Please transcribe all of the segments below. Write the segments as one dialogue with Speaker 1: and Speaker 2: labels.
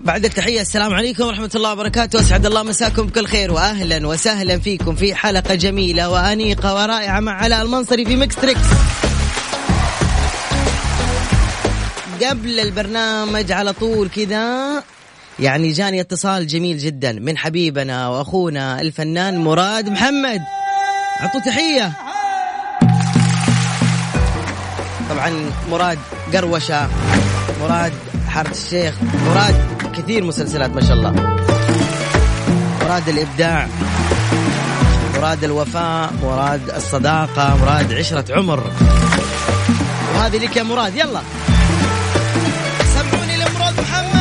Speaker 1: بعدك تحية السلام عليكم ورحمة الله وبركاته أسعد الله مساكم بكل خير وأهلا وسهلا فيكم في حلقة جميلة وأنيقة ورائعة مع علاء المنصري في ميكس تريكس قبل البرنامج على طول كذا يعني جاني اتصال جميل جدا من حبيبنا واخونا الفنان مراد محمد اعطوا تحيه طبعا مراد قروشه مراد حاره الشيخ مراد كثير مسلسلات ما شاء الله مراد الابداع مراد الوفاء مراد الصداقه مراد عشره عمر وهذه لك يا مراد يلا سمعوني لمراد محمد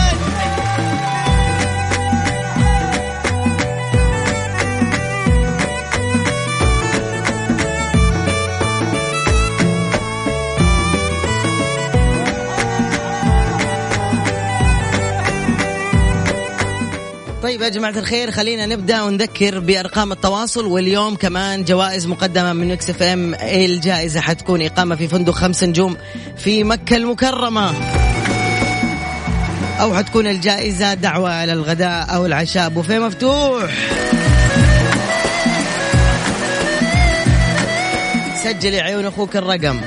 Speaker 1: طيب يا جماعة الخير خلينا نبدأ ونذكر بأرقام التواصل واليوم كمان جوائز مقدمة من مكس اف ام إيه الجائزة حتكون إقامة في فندق خمس نجوم في مكة المكرمة أو حتكون الجائزة دعوة على الغداء أو العشاء بوفيه مفتوح سجل يا عيون أخوك الرقم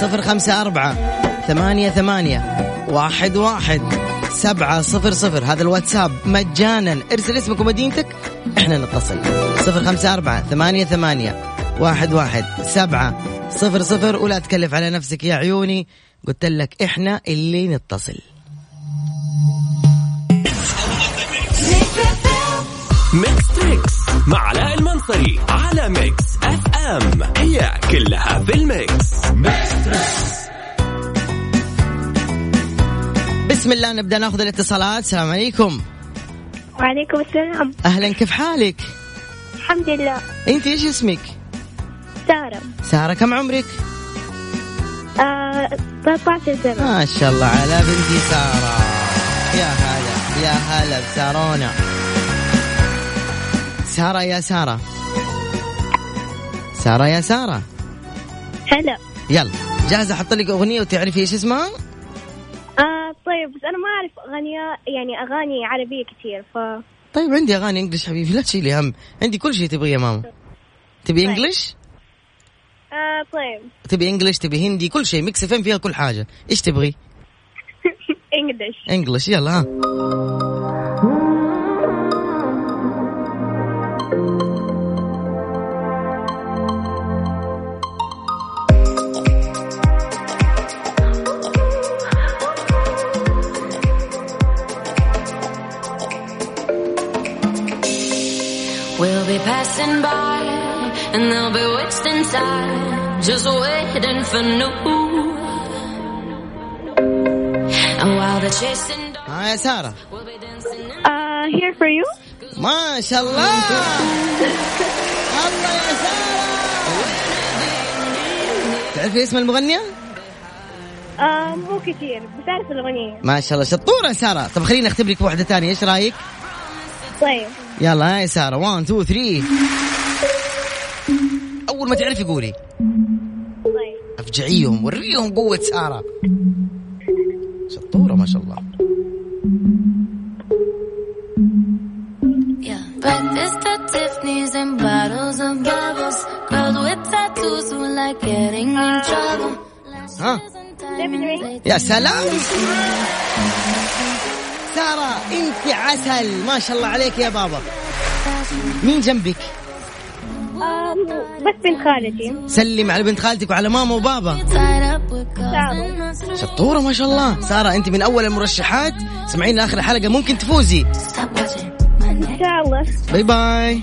Speaker 1: صفر خمسة أربعة ثمانية ثمانية واحد واحد سبعة صفر صفر هذا الواتساب مجانا ارسل اسمك ومدينتك احنا نتصل صفر خمسة أربعة ثمانية ثمانية واحد واحد سبعة صفر صفر ولا تكلف على نفسك يا عيوني قلت لك احنا اللي نتصل
Speaker 2: ميكس تريكس مع علاء المنصري على ميكس اف ام هي كلها في الميكس
Speaker 1: بسم الله نبدأ ناخذ الاتصالات السلام عليكم
Speaker 3: وعليكم السلام
Speaker 1: أهلا كيف حالك
Speaker 3: الحمد لله
Speaker 1: انت ايش اسمك
Speaker 3: سارة
Speaker 1: سارة كم عمرك
Speaker 3: آه 13 سنة
Speaker 1: ما شاء الله على بنتي سارة يا هلا يا هلا بسارونا سارة يا سارة سارة يا سارة
Speaker 3: هلا
Speaker 1: يلا جاهزة أحط لك أغنية وتعرفي إيش اسمها؟
Speaker 3: آه طيب بس أنا ما أعرف أغنية يعني أغاني عربية كثير ف
Speaker 1: طيب عندي أغاني إنجلش حبيبي لا تشيلي هم عندي كل شيء تبغيه يا ماما تبي
Speaker 3: طيب.
Speaker 1: إنجلش؟
Speaker 3: آه طيب
Speaker 1: تبي إنجلش تبي هندي كل شيء ميكس فين فيها كل حاجة إيش تبغي؟
Speaker 3: انجلش
Speaker 1: إنجلش يلا ها
Speaker 4: We'll be passing by and they'll be wasting time just waiting for new. And while they're chasing dark,
Speaker 1: آه يا سارة
Speaker 4: we'll be dancing in
Speaker 3: آه here for you
Speaker 1: ما شاء الله الله يا سارة تعرفي اسم المغنية؟
Speaker 3: آه مو كثير بس أعرف الأغنية
Speaker 1: ما شاء الله شطورة يا سارة طب خليني اختبرك بواحدة ثانية ايش رايك؟
Speaker 3: طيب
Speaker 1: يلا يا سارة 1 2 3 أول ما تعرفي قولي
Speaker 3: طيب
Speaker 1: افجعيهم وريهم قوة سارة شطورة ما شاء الله
Speaker 4: Yeah. Breakfast at Tiffany's and bottles of bubbles. Girls with tattoos who like getting in trouble.
Speaker 1: ها يا سلام سارة انت عسل ما شاء الله عليك يا بابا مين جنبك؟
Speaker 3: آه بس بنت خالتي
Speaker 1: سلم على بنت خالتك وعلى ماما وبابا
Speaker 4: Tied up with girls
Speaker 3: Bravo.
Speaker 4: and us.
Speaker 1: شطورة ما شاء الله سارة انت من اول المرشحات سمعين لاخر الحلقة ممكن تفوزي
Speaker 4: Stop watching my neck.
Speaker 3: إن شاء الله
Speaker 1: باي باي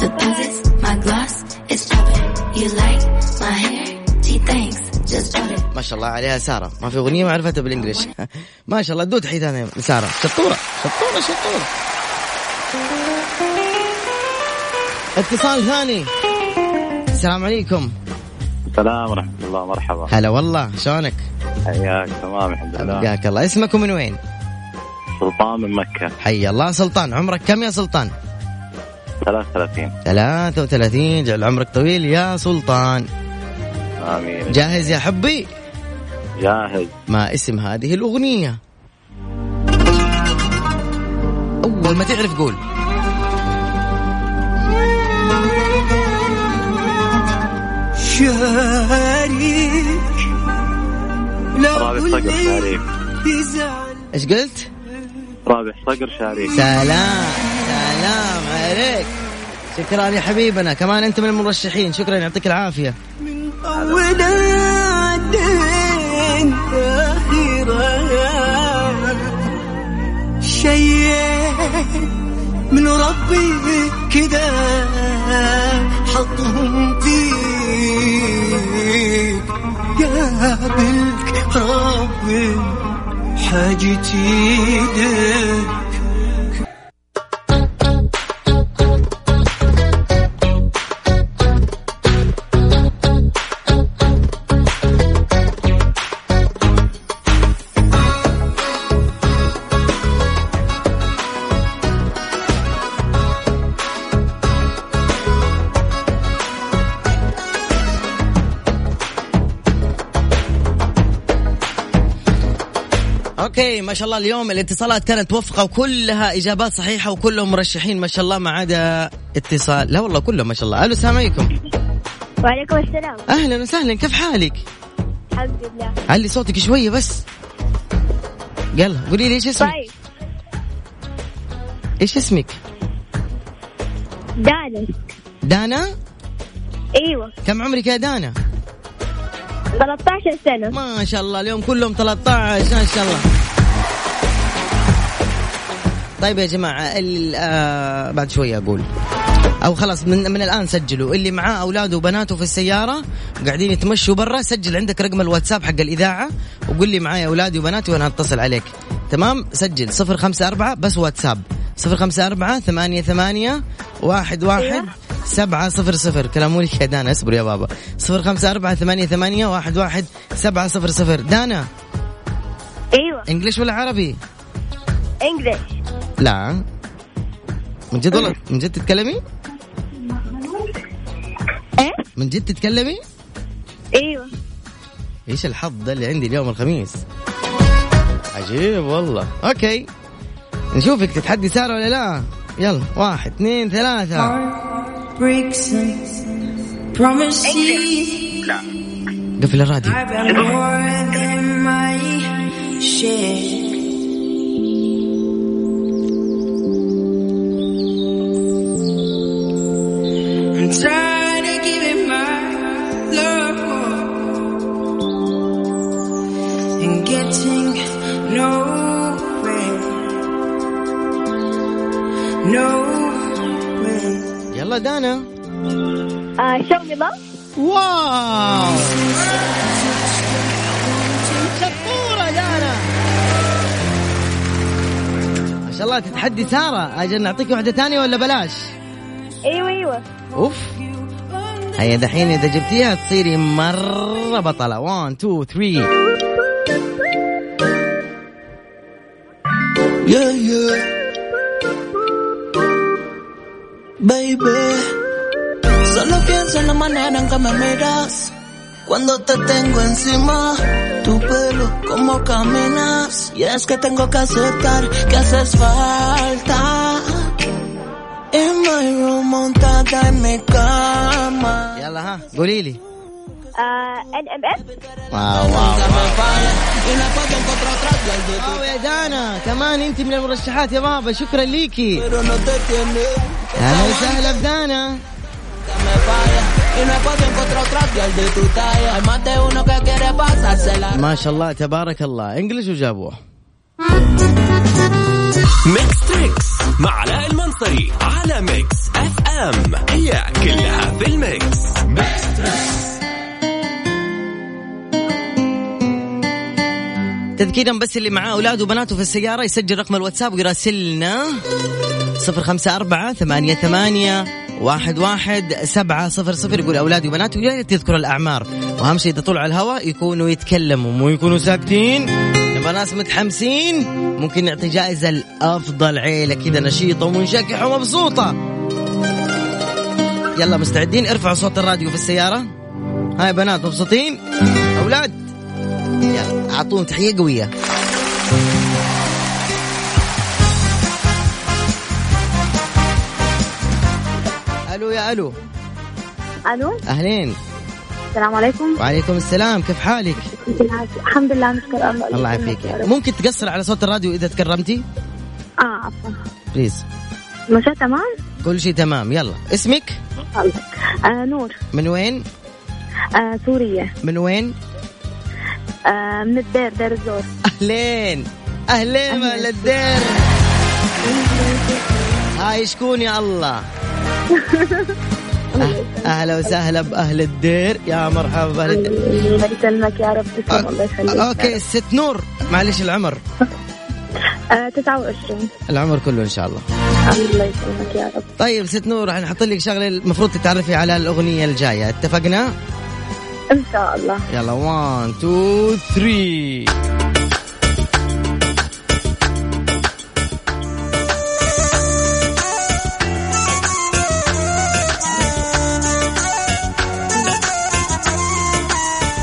Speaker 4: The buzzes, my gloss, it's dropping. You like my hair? Gee, thanks. Just drop it.
Speaker 1: ما شاء الله عليها سارة ما في اغنية ما عرفتها بالانجلش ما شاء الله دو تحية ثانية لسارة شطورة شطورة شطورة اتصال ثاني السلام عليكم
Speaker 5: السلام ورحمة الله مرحبا
Speaker 1: هلا والله شلونك؟
Speaker 5: حياك تمام الحمد لله
Speaker 1: حياك الله اسمك ومن وين؟
Speaker 5: سلطان من مكة
Speaker 1: حي الله سلطان عمرك كم يا سلطان؟
Speaker 5: 33
Speaker 1: 33 جعل عمرك طويل يا سلطان
Speaker 5: آمين
Speaker 1: جاهز يا حبي؟
Speaker 5: جاهز
Speaker 1: ما اسم هذه الأغنية اول ما تعرف قول
Speaker 6: شاريك لا
Speaker 5: رابح صقر شاريك
Speaker 6: تزعل
Speaker 1: ايش قلت؟
Speaker 5: رابح صقر شاريك
Speaker 1: سلام سلام عليك شكرا يا حبيبنا كمان انت من المرشحين شكرا يعطيك العافيه
Speaker 6: من أول عدين آخرة شيء من ربي كده حطهم فيك قابلك ربي حاجتي ايدك
Speaker 1: اوكي ما شاء الله اليوم الاتصالات كانت وفقه وكلها اجابات صحيحه وكلهم مرشحين ما شاء الله ما عدا اتصال لا والله كلهم ما شاء الله الو السلام عليكم
Speaker 3: وعليكم السلام
Speaker 1: اهلا وسهلا كيف حالك
Speaker 3: الحمد لله
Speaker 1: علي صوتك شويه بس يلا قولي لي ايش اسمك
Speaker 3: طيب
Speaker 1: ايش اسمك
Speaker 3: دالة
Speaker 1: دانا
Speaker 3: ايوه
Speaker 1: كم عمرك يا دانا
Speaker 3: 13 سنة
Speaker 1: ما شاء الله اليوم كلهم 13 ما شاء الله طيب يا جماعة ال- آه بعد شوية أقول أو خلاص من, من الآن سجلوا اللي معاه أولاده وبناته في السيارة قاعدين يتمشوا برا سجل عندك رقم الواتساب حق الإذاعة وقول لي معايا أولادي وبناتي وأنا هتصل عليك تمام سجل صفر خمسة أربعة بس واتساب صفر خمسة أربعة ثمانية ثمانية واحد واحد سبعة صفر صفر كلام مولك يا دانا اصبر يا بابا صفر خمسة أربعة ثمانية ثمانية واحد واحد سبعة صفر صفر دانا
Speaker 3: ايوه
Speaker 1: انجلش ولا عربي؟
Speaker 3: انجلش
Speaker 1: لا من جد والله من جد تتكلمي؟
Speaker 3: ايه
Speaker 1: من جد تتكلمي؟
Speaker 3: ايوه
Speaker 1: ايش الحظ ده اللي عندي اليوم الخميس؟ عجيب والله، اوكي نشوفك تتحدي سارة ولا لا؟ يلا واحد اثنين ثلاثة
Speaker 6: breaks Promise you
Speaker 1: قفل الراديو
Speaker 6: I've got more than my share. I'm trying to give it my love more and getting nowhere. Nowhere.
Speaker 1: يلا دانا
Speaker 3: آه شو مي لاف
Speaker 1: واو شطورة دانا ما شاء الله تتحدي سارة أجل نعطيك واحدة ثانية ولا بلاش؟
Speaker 3: ايوه ايوه
Speaker 1: اوف هيا دحين اذا جبتيها تصيري مره بطله 1 2 3
Speaker 6: Yeah, yeah. Baby, solo pienso en la manera en que me miras. Cuando te tengo encima, tu pelo, cómo caminas. Y es que tengo que aceptar que haces falta. En mi room montada en mi cama.
Speaker 1: يلا ها قولي لي
Speaker 3: ان ام اس
Speaker 1: واو واو واو آه، يا دانا كمان انت من المرشحات يا بابا شكرا ليكي
Speaker 6: Pero no te tiene.
Speaker 1: اهلا وسهلا بدانا
Speaker 6: me falla. Y no he podido encontrar otra piel de tu talla. Hay más de uno que quiere pasársela.
Speaker 1: ما شاء الله تبارك الله انجلش وجابوه
Speaker 2: ميكس تريكس مع علاء المنصري على ميكس اف ام هي كلها في الميكس
Speaker 1: تذكيرا بس اللي معاه أولاده وبناته في السيارة يسجل رقم الواتساب ويراسلنا صفر خمسة أربعة ثمانية ثمانية واحد واحد سبعة صفر صفر يقول أولادي وبناتي ويا ريت يذكر الأعمار وأهم شيء إذا طلعوا على الهواء يكونوا يتكلموا مو يكونوا ساكتين نبغى ناس متحمسين ممكن نعطي جائزة لأفضل عيلة كذا نشيطة ومنشكحة ومبسوطة يلا مستعدين ارفعوا صوت الراديو في السيارة هاي بنات مبسوطين أولاد يلا اعطوهم تحيه قويه يا الو
Speaker 3: الو
Speaker 1: اهلين
Speaker 3: السلام عليكم
Speaker 1: وعليكم السلام كيف حالك
Speaker 3: الحمد لله نشكر الله
Speaker 1: الله يعافيك ممكن تقصر على صوت الراديو اذا تكرمتي
Speaker 3: اه عفوا
Speaker 1: بليز
Speaker 3: مشى تمام
Speaker 1: كل شيء تمام يلا اسمك
Speaker 3: آه نور
Speaker 1: من وين
Speaker 3: آه سورية
Speaker 1: من وين
Speaker 3: آه من الدير دير الزور
Speaker 1: اهلين اهلين اهل الدير هاي شكون يا الله أه- اهلا وسهلا باهل الدير يا مرحبا باهل الدير
Speaker 3: الله يسلمك يا رب تسلم الله يخليك
Speaker 1: أه، اوكي ست نور معلش العمر
Speaker 3: آه 29
Speaker 1: العمر كله ان شاء الله
Speaker 3: الله يسلمك يا رب
Speaker 1: طيب ست نور حنحط لك شغله المفروض تتعرفي على الاغنيه الجايه اتفقنا
Speaker 3: ان شاء الله
Speaker 1: يلا 1 2 3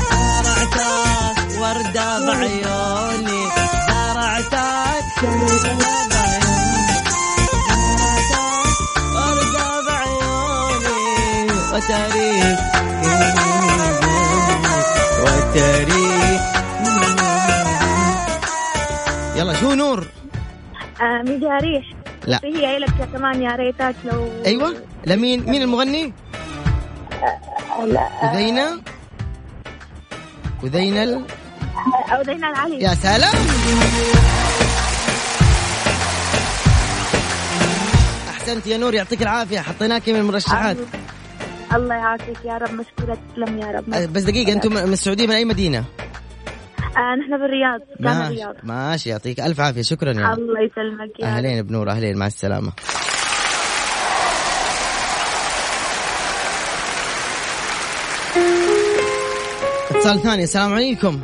Speaker 1: زرعتك وردة بعيوني زرعتك وردة بعيوني زرعتك وردة بعيوني وتاريخ وتاريخ يلا شو نور
Speaker 3: آه ميجا ريح
Speaker 1: لا
Speaker 3: هي عيلك يا كمان يا ريتك لو
Speaker 1: ايوه لمين مين المغني؟ أيوة. وذينا وذينا ال...
Speaker 3: او دينا العلي
Speaker 1: يا سلام احسنت يا نور يعطيك العافيه حطيناك من المرشحات
Speaker 3: الله يعافيك يا رب مشكورة تسلم يا رب
Speaker 1: أه، بس دقيقه انتم من السعوديه من اي مدينه؟
Speaker 3: آه نحن بالرياض جامعة
Speaker 1: ماشي
Speaker 3: الرياض
Speaker 1: ماشي يعطيك الف عافيه شكرا يا نور.
Speaker 3: الله يسلمك يا رب
Speaker 1: اهلين بنور اهلين مع السلامه اتصال ثاني السلام عليكم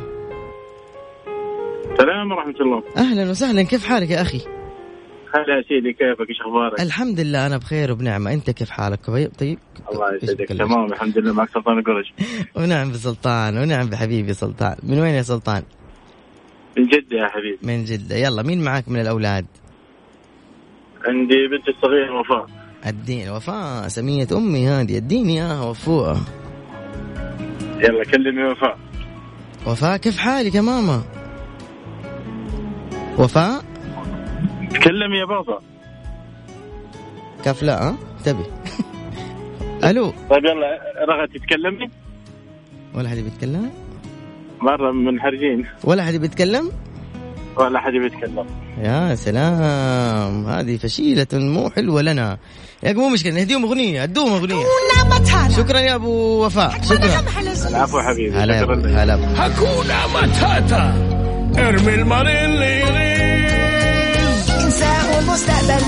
Speaker 5: السلام ورحمة الله
Speaker 1: اهلا وسهلا كيف حالك يا اخي
Speaker 5: طيب. هلا يا سيدي كيفك ايش اخبارك؟
Speaker 1: الحمد لله انا بخير وبنعمه انت كيف حالك طيب طيب
Speaker 5: الله يسعدك
Speaker 1: يشكرك.
Speaker 5: تمام الحمد لله معك سلطان قرش
Speaker 1: ونعم بسلطان ونعم بحبيبي سلطان من وين يا سلطان
Speaker 5: من جدة يا حبيبي
Speaker 1: من جده يلا مين معك من الاولاد
Speaker 5: عندي بنت الصغيرة وفاء
Speaker 1: الدين وفاء سمية امي هذه اديني اياها وفوءة
Speaker 5: يلا كلمي وفاء
Speaker 1: وفاء كيف حالك يا ماما وفاء
Speaker 5: تكلمي يا بابا
Speaker 1: كيف لا ها انتبه الو
Speaker 5: طيب يلا رغد تتكلمي
Speaker 1: ولا حد بيتكلم
Speaker 5: مرة منحرجين
Speaker 1: ولا حد بيتكلم
Speaker 5: ولا حد بيتكلم
Speaker 1: يا سلام هذه فشيلة مو حلوة لنا يا مو مشكلة نهديهم أغنية ادوهم أغنية شكرا يا أبو وفاء شكرا
Speaker 5: العفو حبيبي
Speaker 1: هلا يا
Speaker 5: شكرا
Speaker 1: أبو-
Speaker 5: لك.
Speaker 1: هلا أبو.
Speaker 2: هكونا متاتا ارمي المرين
Speaker 7: انساه المستقبل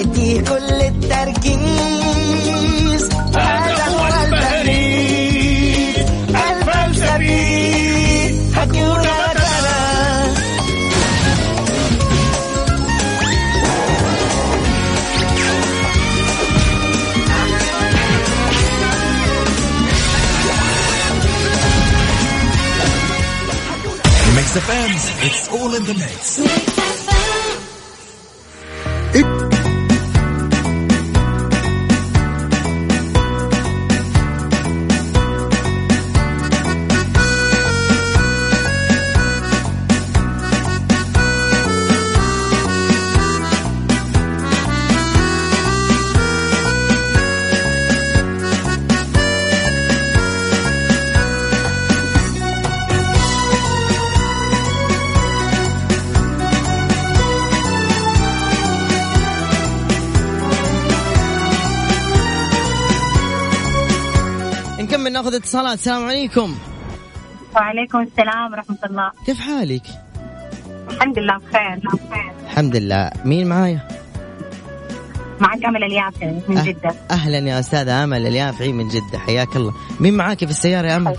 Speaker 7: اديه كل التركيز هذا هو البريد الفلسفي هكون مثلا
Speaker 2: ميكس اف ام اتس اول ان ذا ميكس
Speaker 1: نكمل ناخذ اتصالات السلام عليكم
Speaker 8: وعليكم السلام ورحمة الله
Speaker 1: كيف حالك
Speaker 8: الحمد لله بخير
Speaker 1: الحمد لله مين معايا
Speaker 8: معك أمل اليافي من
Speaker 1: أه-
Speaker 8: جدة
Speaker 1: أهلا يا أستاذة أمل اليافعي من جدة حياك الله مين معاكي في السيارة يا أمل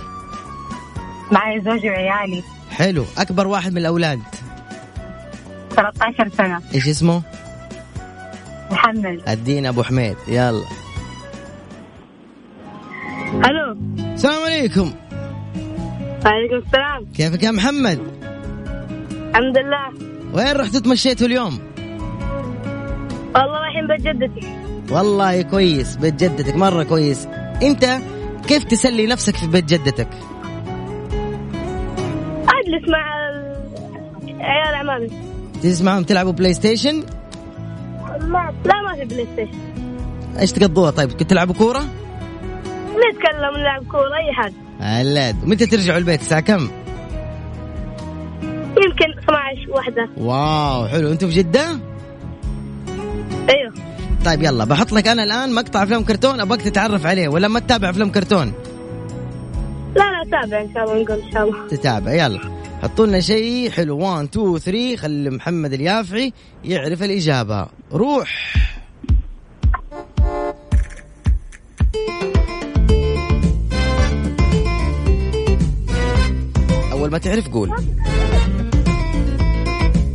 Speaker 8: معي زوجي وعيالي
Speaker 1: حلو أكبر واحد من الأولاد
Speaker 8: 13 سنة
Speaker 1: إيش اسمه
Speaker 8: محمد
Speaker 1: الدين أبو حميد يلا
Speaker 3: الو
Speaker 1: السلام عليكم
Speaker 3: وعليكم السلام
Speaker 1: كيفك يا محمد
Speaker 3: الحمد لله
Speaker 1: وين رحتوا تمشيتوا اليوم
Speaker 3: والله رايحين بيت جدتي
Speaker 1: والله كويس بيت جدتك مرة كويس أنت كيف تسلي نفسك في بيت جدتك؟
Speaker 3: اجلس مع ال- عيال عمامي
Speaker 1: تجلس معهم تلعبوا بلاي ستيشن؟
Speaker 3: ما لا ما في بلاي ستيشن
Speaker 1: ايش تقضوها طيب؟ كنت تلعبوا كورة؟
Speaker 3: نتكلم نلعب كوره اي حاجه
Speaker 1: هلا متى ترجعوا البيت الساعة كم؟
Speaker 3: يمكن 12 واحده
Speaker 1: واو حلو انتم في جدة؟
Speaker 3: ايوه
Speaker 1: طيب يلا بحط لك انا الان مقطع فيلم كرتون ابغاك تتعرف عليه ولا ما تتابع فيلم كرتون؟
Speaker 3: لا لا تابع ان شاء الله نقول ان شاء الله
Speaker 1: تتابع يلا حطوا لنا شيء حلو 1 2 3 خلي محمد اليافعي يعرف الاجابة روح اول ما تعرف قول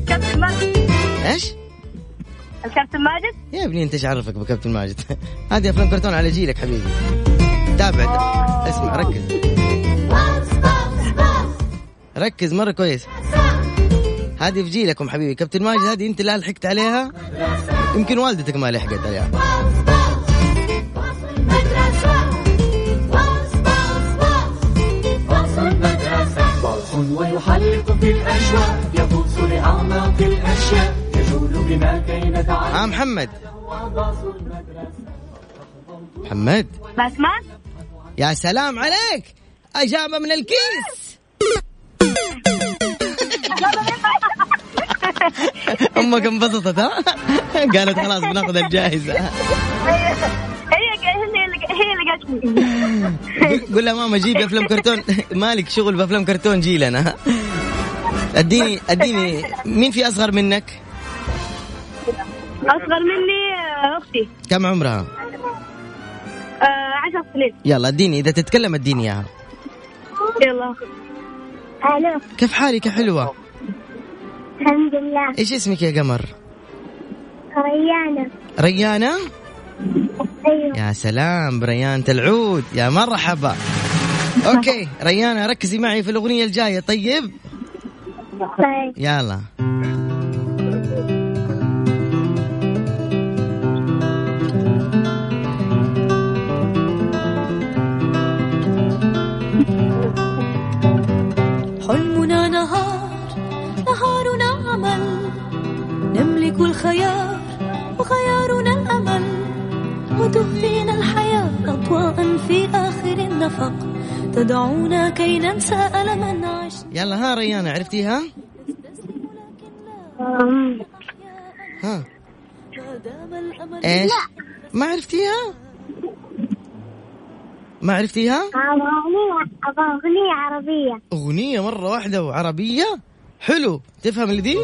Speaker 3: كابتن ماجد
Speaker 1: ايش؟
Speaker 3: الكابتن ماجد
Speaker 1: يا ابني انت ايش عرفك بكابتن ماجد؟ هذه افلام كرتون على جيلك حبيبي. تابع تابع. اسمع ركز. ركز مره كويس. هذه في جيلكم حبيبي، كابتن ماجد هذه انت لا لحقت عليها يمكن والدتك ما لحقت عليها. ها محمد محمد
Speaker 3: باتمان
Speaker 1: يا سلام عليك اجابه من الكيس امك انبسطت ها قالت خلاص بناخذ الجائزه
Speaker 3: هي هي اللي هي اللي قالت لي
Speaker 1: قول لها ماما جيب لي افلام كرتون مالك شغل بافلام كرتون جيلنا اديني اديني مين في اصغر منك
Speaker 3: اصغر مني آه، اختي
Speaker 1: كم عمرها
Speaker 3: آه، عشر سنين
Speaker 1: يلا اديني اذا تتكلم اديني اياها
Speaker 3: يلا الو
Speaker 1: كيف حالك يا حلوه
Speaker 3: الحمد لله
Speaker 1: ايش اسمك يا قمر
Speaker 3: ريانة
Speaker 1: ريانه
Speaker 3: ايوه
Speaker 1: يا سلام ريانة العود يا مرحبا اوكي ريانة ركزي معي في الاغنية الجاية طيب
Speaker 3: طيب
Speaker 1: يلا
Speaker 4: حلمنا نهار نهارنا أمل نملك الخيار وخيارنا الأمل وتخفينا الحياة أضواء في آخر النفق تدعونا كي ننسى ألما عشنا
Speaker 1: يلا ها ريانة عرفتيها
Speaker 3: أم،
Speaker 1: ها
Speaker 4: ودام الأمل
Speaker 1: ايش ما عرفتيها ما عرفتيها
Speaker 3: أبغى أغنية أبغى أغنية عربية
Speaker 1: اغنية مرة واحدة وعربية حلو تفهم اللي دي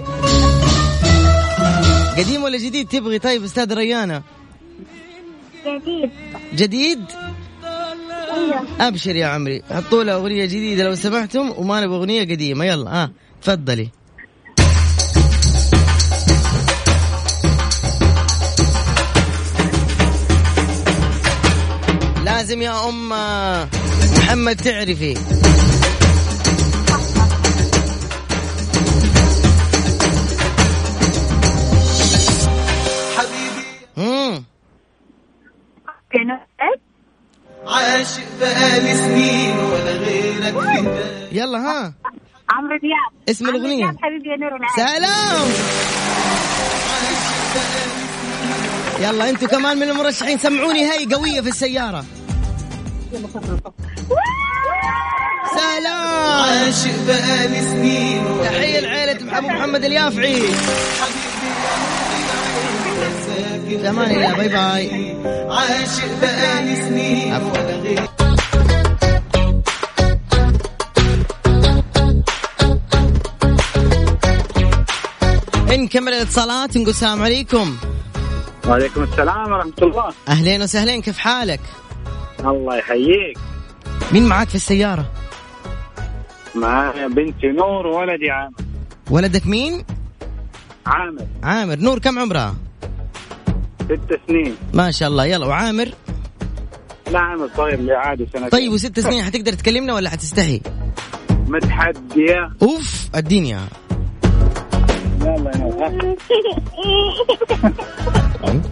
Speaker 1: قديم ولا جديد تبغي طيب استاذ ريانة
Speaker 3: جديد
Speaker 1: جديد
Speaker 3: أيوه
Speaker 1: ابشر يا عمري حطوا لها اغنيه جديده لو سمحتم وما نبغى اغنيه قديمه يلا ها آه. تفضلي لازم يا ام محمد تعرفي امم
Speaker 8: كانوا
Speaker 6: عاشق بقالي سنين ولا غيرك في بالي.
Speaker 1: يلا ها
Speaker 8: عمرو دياب
Speaker 1: اسم
Speaker 8: عمرو
Speaker 1: الأغنية.
Speaker 8: دياب حبيبي يا نور العين
Speaker 1: سلام يلا انتوا كمان من المرشحين سمعوني هاي قوية في السيارة سلام
Speaker 6: عاشق بقالي سنين ولا
Speaker 1: تحية لعائلة محمد محمد اليافعي زمان الله باي باي
Speaker 6: عاشق بقالي سنين ولا غيرك
Speaker 1: نكمل الاتصالات نقول السلام عليكم
Speaker 5: وعليكم السلام ورحمة الله
Speaker 1: اهلين وسهلين كيف حالك
Speaker 5: الله يحييك
Speaker 1: مين معاك في السيارة
Speaker 5: معايا بنتي نور وولدي عامر
Speaker 1: ولدك مين
Speaker 5: عامر
Speaker 1: عامر نور كم عمرها
Speaker 5: ست سنين
Speaker 1: ما شاء الله يلا وعامر
Speaker 5: لا عامر صغير اللي عادي سنتين
Speaker 1: طيب وست سنين حتقدر تكلمنا ولا حتستحي
Speaker 5: متحدية
Speaker 1: اوف الدنيا
Speaker 5: يلا يا نور ها.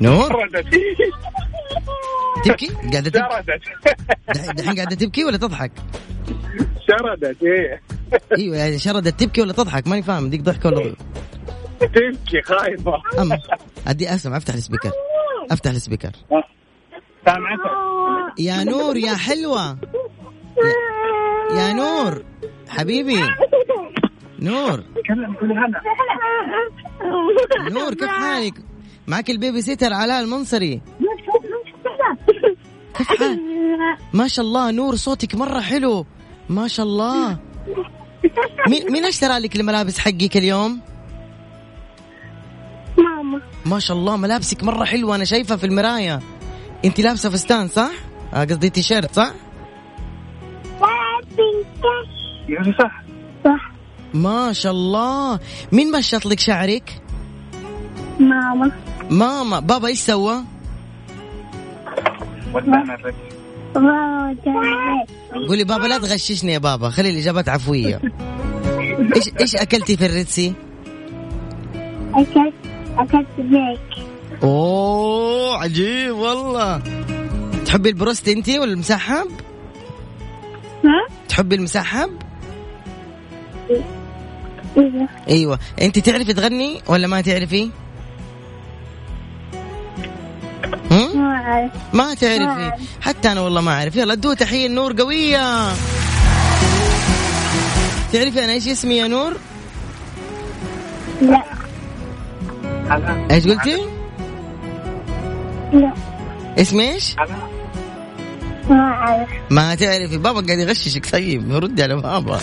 Speaker 1: نور
Speaker 5: ردت
Speaker 1: تبكي قاعدة تبكي
Speaker 5: شردت
Speaker 1: دح- دحين قاعدة تبكي ولا تضحك
Speaker 5: شردت ايه
Speaker 1: ايوه يعني شردت تبكي ولا تضحك ماني فاهم ديك ضحكة ولا ضحك
Speaker 5: تبكي خايفه
Speaker 1: أم أدي أسمع أفتح السبيكر أفتح السبيكر
Speaker 5: سامعتك
Speaker 1: يا نور يا حلوة يا, يا نور حبيبي نور
Speaker 5: كلم كل هلا
Speaker 1: نور كيف حالك معك البيبي سيتر علاء المنصري كيف حالك ما شاء الله نور صوتك مرة حلو ما شاء الله مين مين اشترى لك الملابس حقك اليوم؟
Speaker 4: ماما
Speaker 1: ما شاء الله ملابسك مرة حلوة أنا شايفها في المراية أنت لابسة فستان صح؟ آه، قصدي تيشيرت صح؟
Speaker 5: يا صح
Speaker 9: صح
Speaker 1: ما شاء الله مين مشط لك شعرك؟
Speaker 9: ماما
Speaker 1: ماما بابا ايش سوى؟
Speaker 5: ودعنا لك
Speaker 9: راجع
Speaker 1: قولي بابا لا تغششني يا بابا خلي الإجابات عفوية ايش ايش أكلتي في الريتسي؟
Speaker 9: أكلت أكلت زيك
Speaker 1: اوه عجيب والله تحبي البروست انت ولا المسحب؟
Speaker 9: ها؟
Speaker 1: تحبي المسحب؟
Speaker 9: إيه
Speaker 1: ايوه انت تعرفي تغني ولا ما تعرفي؟ هم؟
Speaker 9: ما أعرف
Speaker 1: ما تعرفي حتى انا والله ما اعرف يلا ادوه تحيه نور قويه تعرفي انا ايش اسمي يا نور؟
Speaker 9: لا
Speaker 5: هلا
Speaker 1: ايش قلتي؟
Speaker 9: لا
Speaker 1: اسمي ايش؟
Speaker 5: هلا
Speaker 9: ما أعرف
Speaker 1: ما تعرفي بابا قاعد يغششك طيب ردي على بابا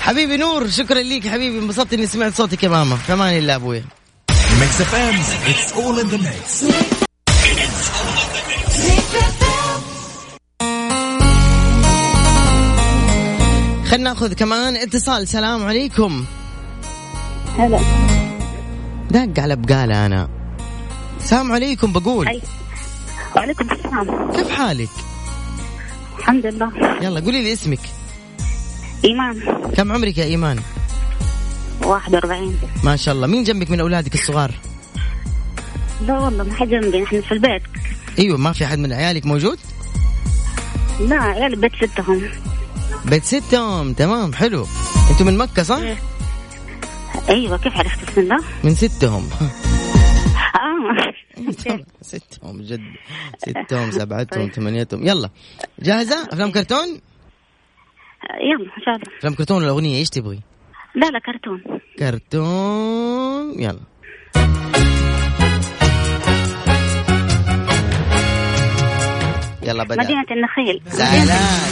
Speaker 1: حبيبي نور شكرا ليك حبيبي انبسطت اني سمعت صوتك يا ماما كمان الله ابوي
Speaker 2: ميكس اف ام اتس اول ان ذا ميكس
Speaker 1: خلنا ناخذ كمان اتصال سلام عليكم
Speaker 4: هلا
Speaker 1: دق على بقاله انا سلام عليكم بقول
Speaker 4: أي. وعليكم السلام
Speaker 1: كيف حالك؟
Speaker 4: الحمد لله
Speaker 1: يلا قولي لي اسمك
Speaker 4: إيمان
Speaker 1: كم عمرك يا ايمان؟
Speaker 4: 41
Speaker 1: ما شاء الله مين جنبك من اولادك الصغار؟
Speaker 4: لا والله ما حد جنبي نحن في البيت
Speaker 1: ايوه ما في احد من عيالك موجود؟
Speaker 4: لا عيال بيت ستهم
Speaker 1: بيت ستهم تمام حلو انتم من مكه صح؟
Speaker 4: ايوه كيف عرفت بسم الله؟
Speaker 1: من ستهم
Speaker 4: اه
Speaker 1: ستهم جد ستهم سبعتهم
Speaker 4: طيب.
Speaker 1: ثمانيتهم يلا جاهزه افلام كرتون
Speaker 4: يلا ان شاء الله
Speaker 1: افلام كرتون ولا اغنيه ايش تبغي
Speaker 4: لا لا كرتون
Speaker 1: كرتون يلا يلا بدا
Speaker 4: مدينة النخيل
Speaker 1: سلام سلام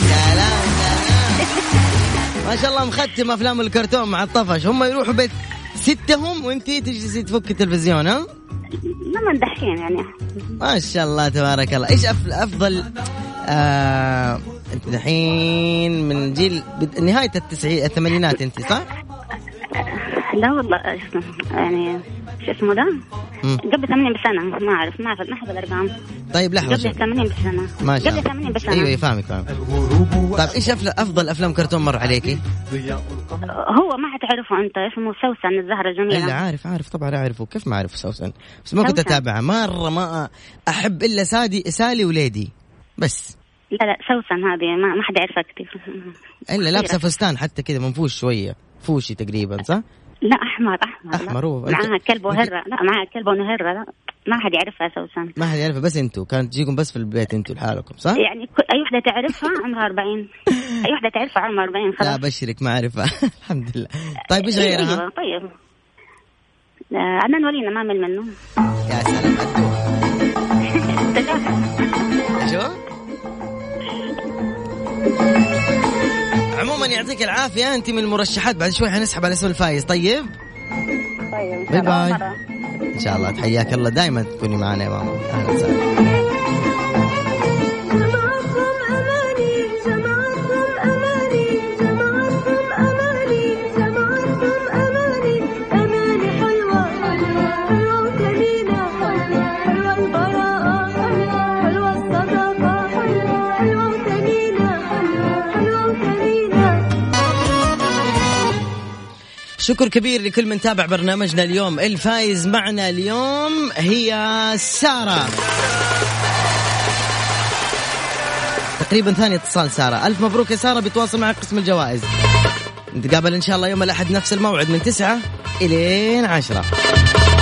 Speaker 1: سلام. ما شاء الله مختم افلام الكرتون مع الطفش هم يروحوا بيت ستهم وانت تجلسي تفك التلفزيون ها
Speaker 4: ما من دحين يعني
Speaker 1: ما شاء الله تبارك الله ايش أف- افضل آه انت دحين من جيل بد- نهايه التسعي الثمانينات انت صح؟
Speaker 4: لا والله اسمه يعني شو اسمه ده؟
Speaker 1: مم.
Speaker 4: قبل 80 بسنة ما اعرف ما اعرف ما احب الارقام
Speaker 1: طيب لحظه
Speaker 4: قبل
Speaker 1: شوي.
Speaker 4: 80 بسنة
Speaker 1: ما شاء
Speaker 4: قبل
Speaker 1: الله
Speaker 4: 80
Speaker 1: ايوه أيوة،
Speaker 4: بسنة
Speaker 1: فاهمك فاهمك طيب ايش أفل... افضل افلام كرتون مر عليكي؟
Speaker 4: هو ما حتعرفه انت اسمه سوسن الزهرة
Speaker 1: الا
Speaker 4: الجميلة
Speaker 1: عارف عارف طبعا اعرفه كيف ما اعرف سوسن بس ما كنت
Speaker 4: سوسن.
Speaker 1: اتابعه مره ما احب الا سادي سالي وليدي بس
Speaker 4: لا لا سوسن هذه ما, ما حد يعرفها كثير
Speaker 1: الا لابسه فستان حتى كذا منفوش شويه فوشي تقريبا صح؟
Speaker 4: لا احمر احمر لا.
Speaker 1: أحمر، هو.
Speaker 4: معاها
Speaker 1: أنت-
Speaker 4: كلب وهرة لا معاها كلب ونهرة لا ما حد يعرفها سوسن
Speaker 1: ما حد يعرفه بس انتوا كانت تجيكم بس في البيت انتوا لحالكم صح؟
Speaker 4: يعني كل- اي وحده تعرفها عمرها 40 اي وحده تعرفها عمرها 40
Speaker 1: لا
Speaker 4: خلاص
Speaker 1: بشرك ما اعرفها الحمد لله طيب ايش
Speaker 4: أيوة،
Speaker 1: غيرها؟
Speaker 4: طيب آه، عدنان ولينا ما مل منه
Speaker 1: يا سلام أدوها.
Speaker 4: ثلاثة
Speaker 1: شو؟ عموما يعطيك العافيه انت من المرشحات بعد شوي حنسحب على اسم الفايز طيب؟
Speaker 4: طيب
Speaker 1: باي باي ان شاء الله تحياك الله دائما تكوني معنا يا ماما اهلا وسهلا شكر كبير لكل من تابع برنامجنا اليوم الفايز معنا اليوم هي سارة تقريبا ثاني اتصال سارة ألف مبروك يا سارة بيتواصل معك قسم الجوائز نتقابل إن شاء الله يوم الأحد نفس الموعد من تسعة إلين عشرة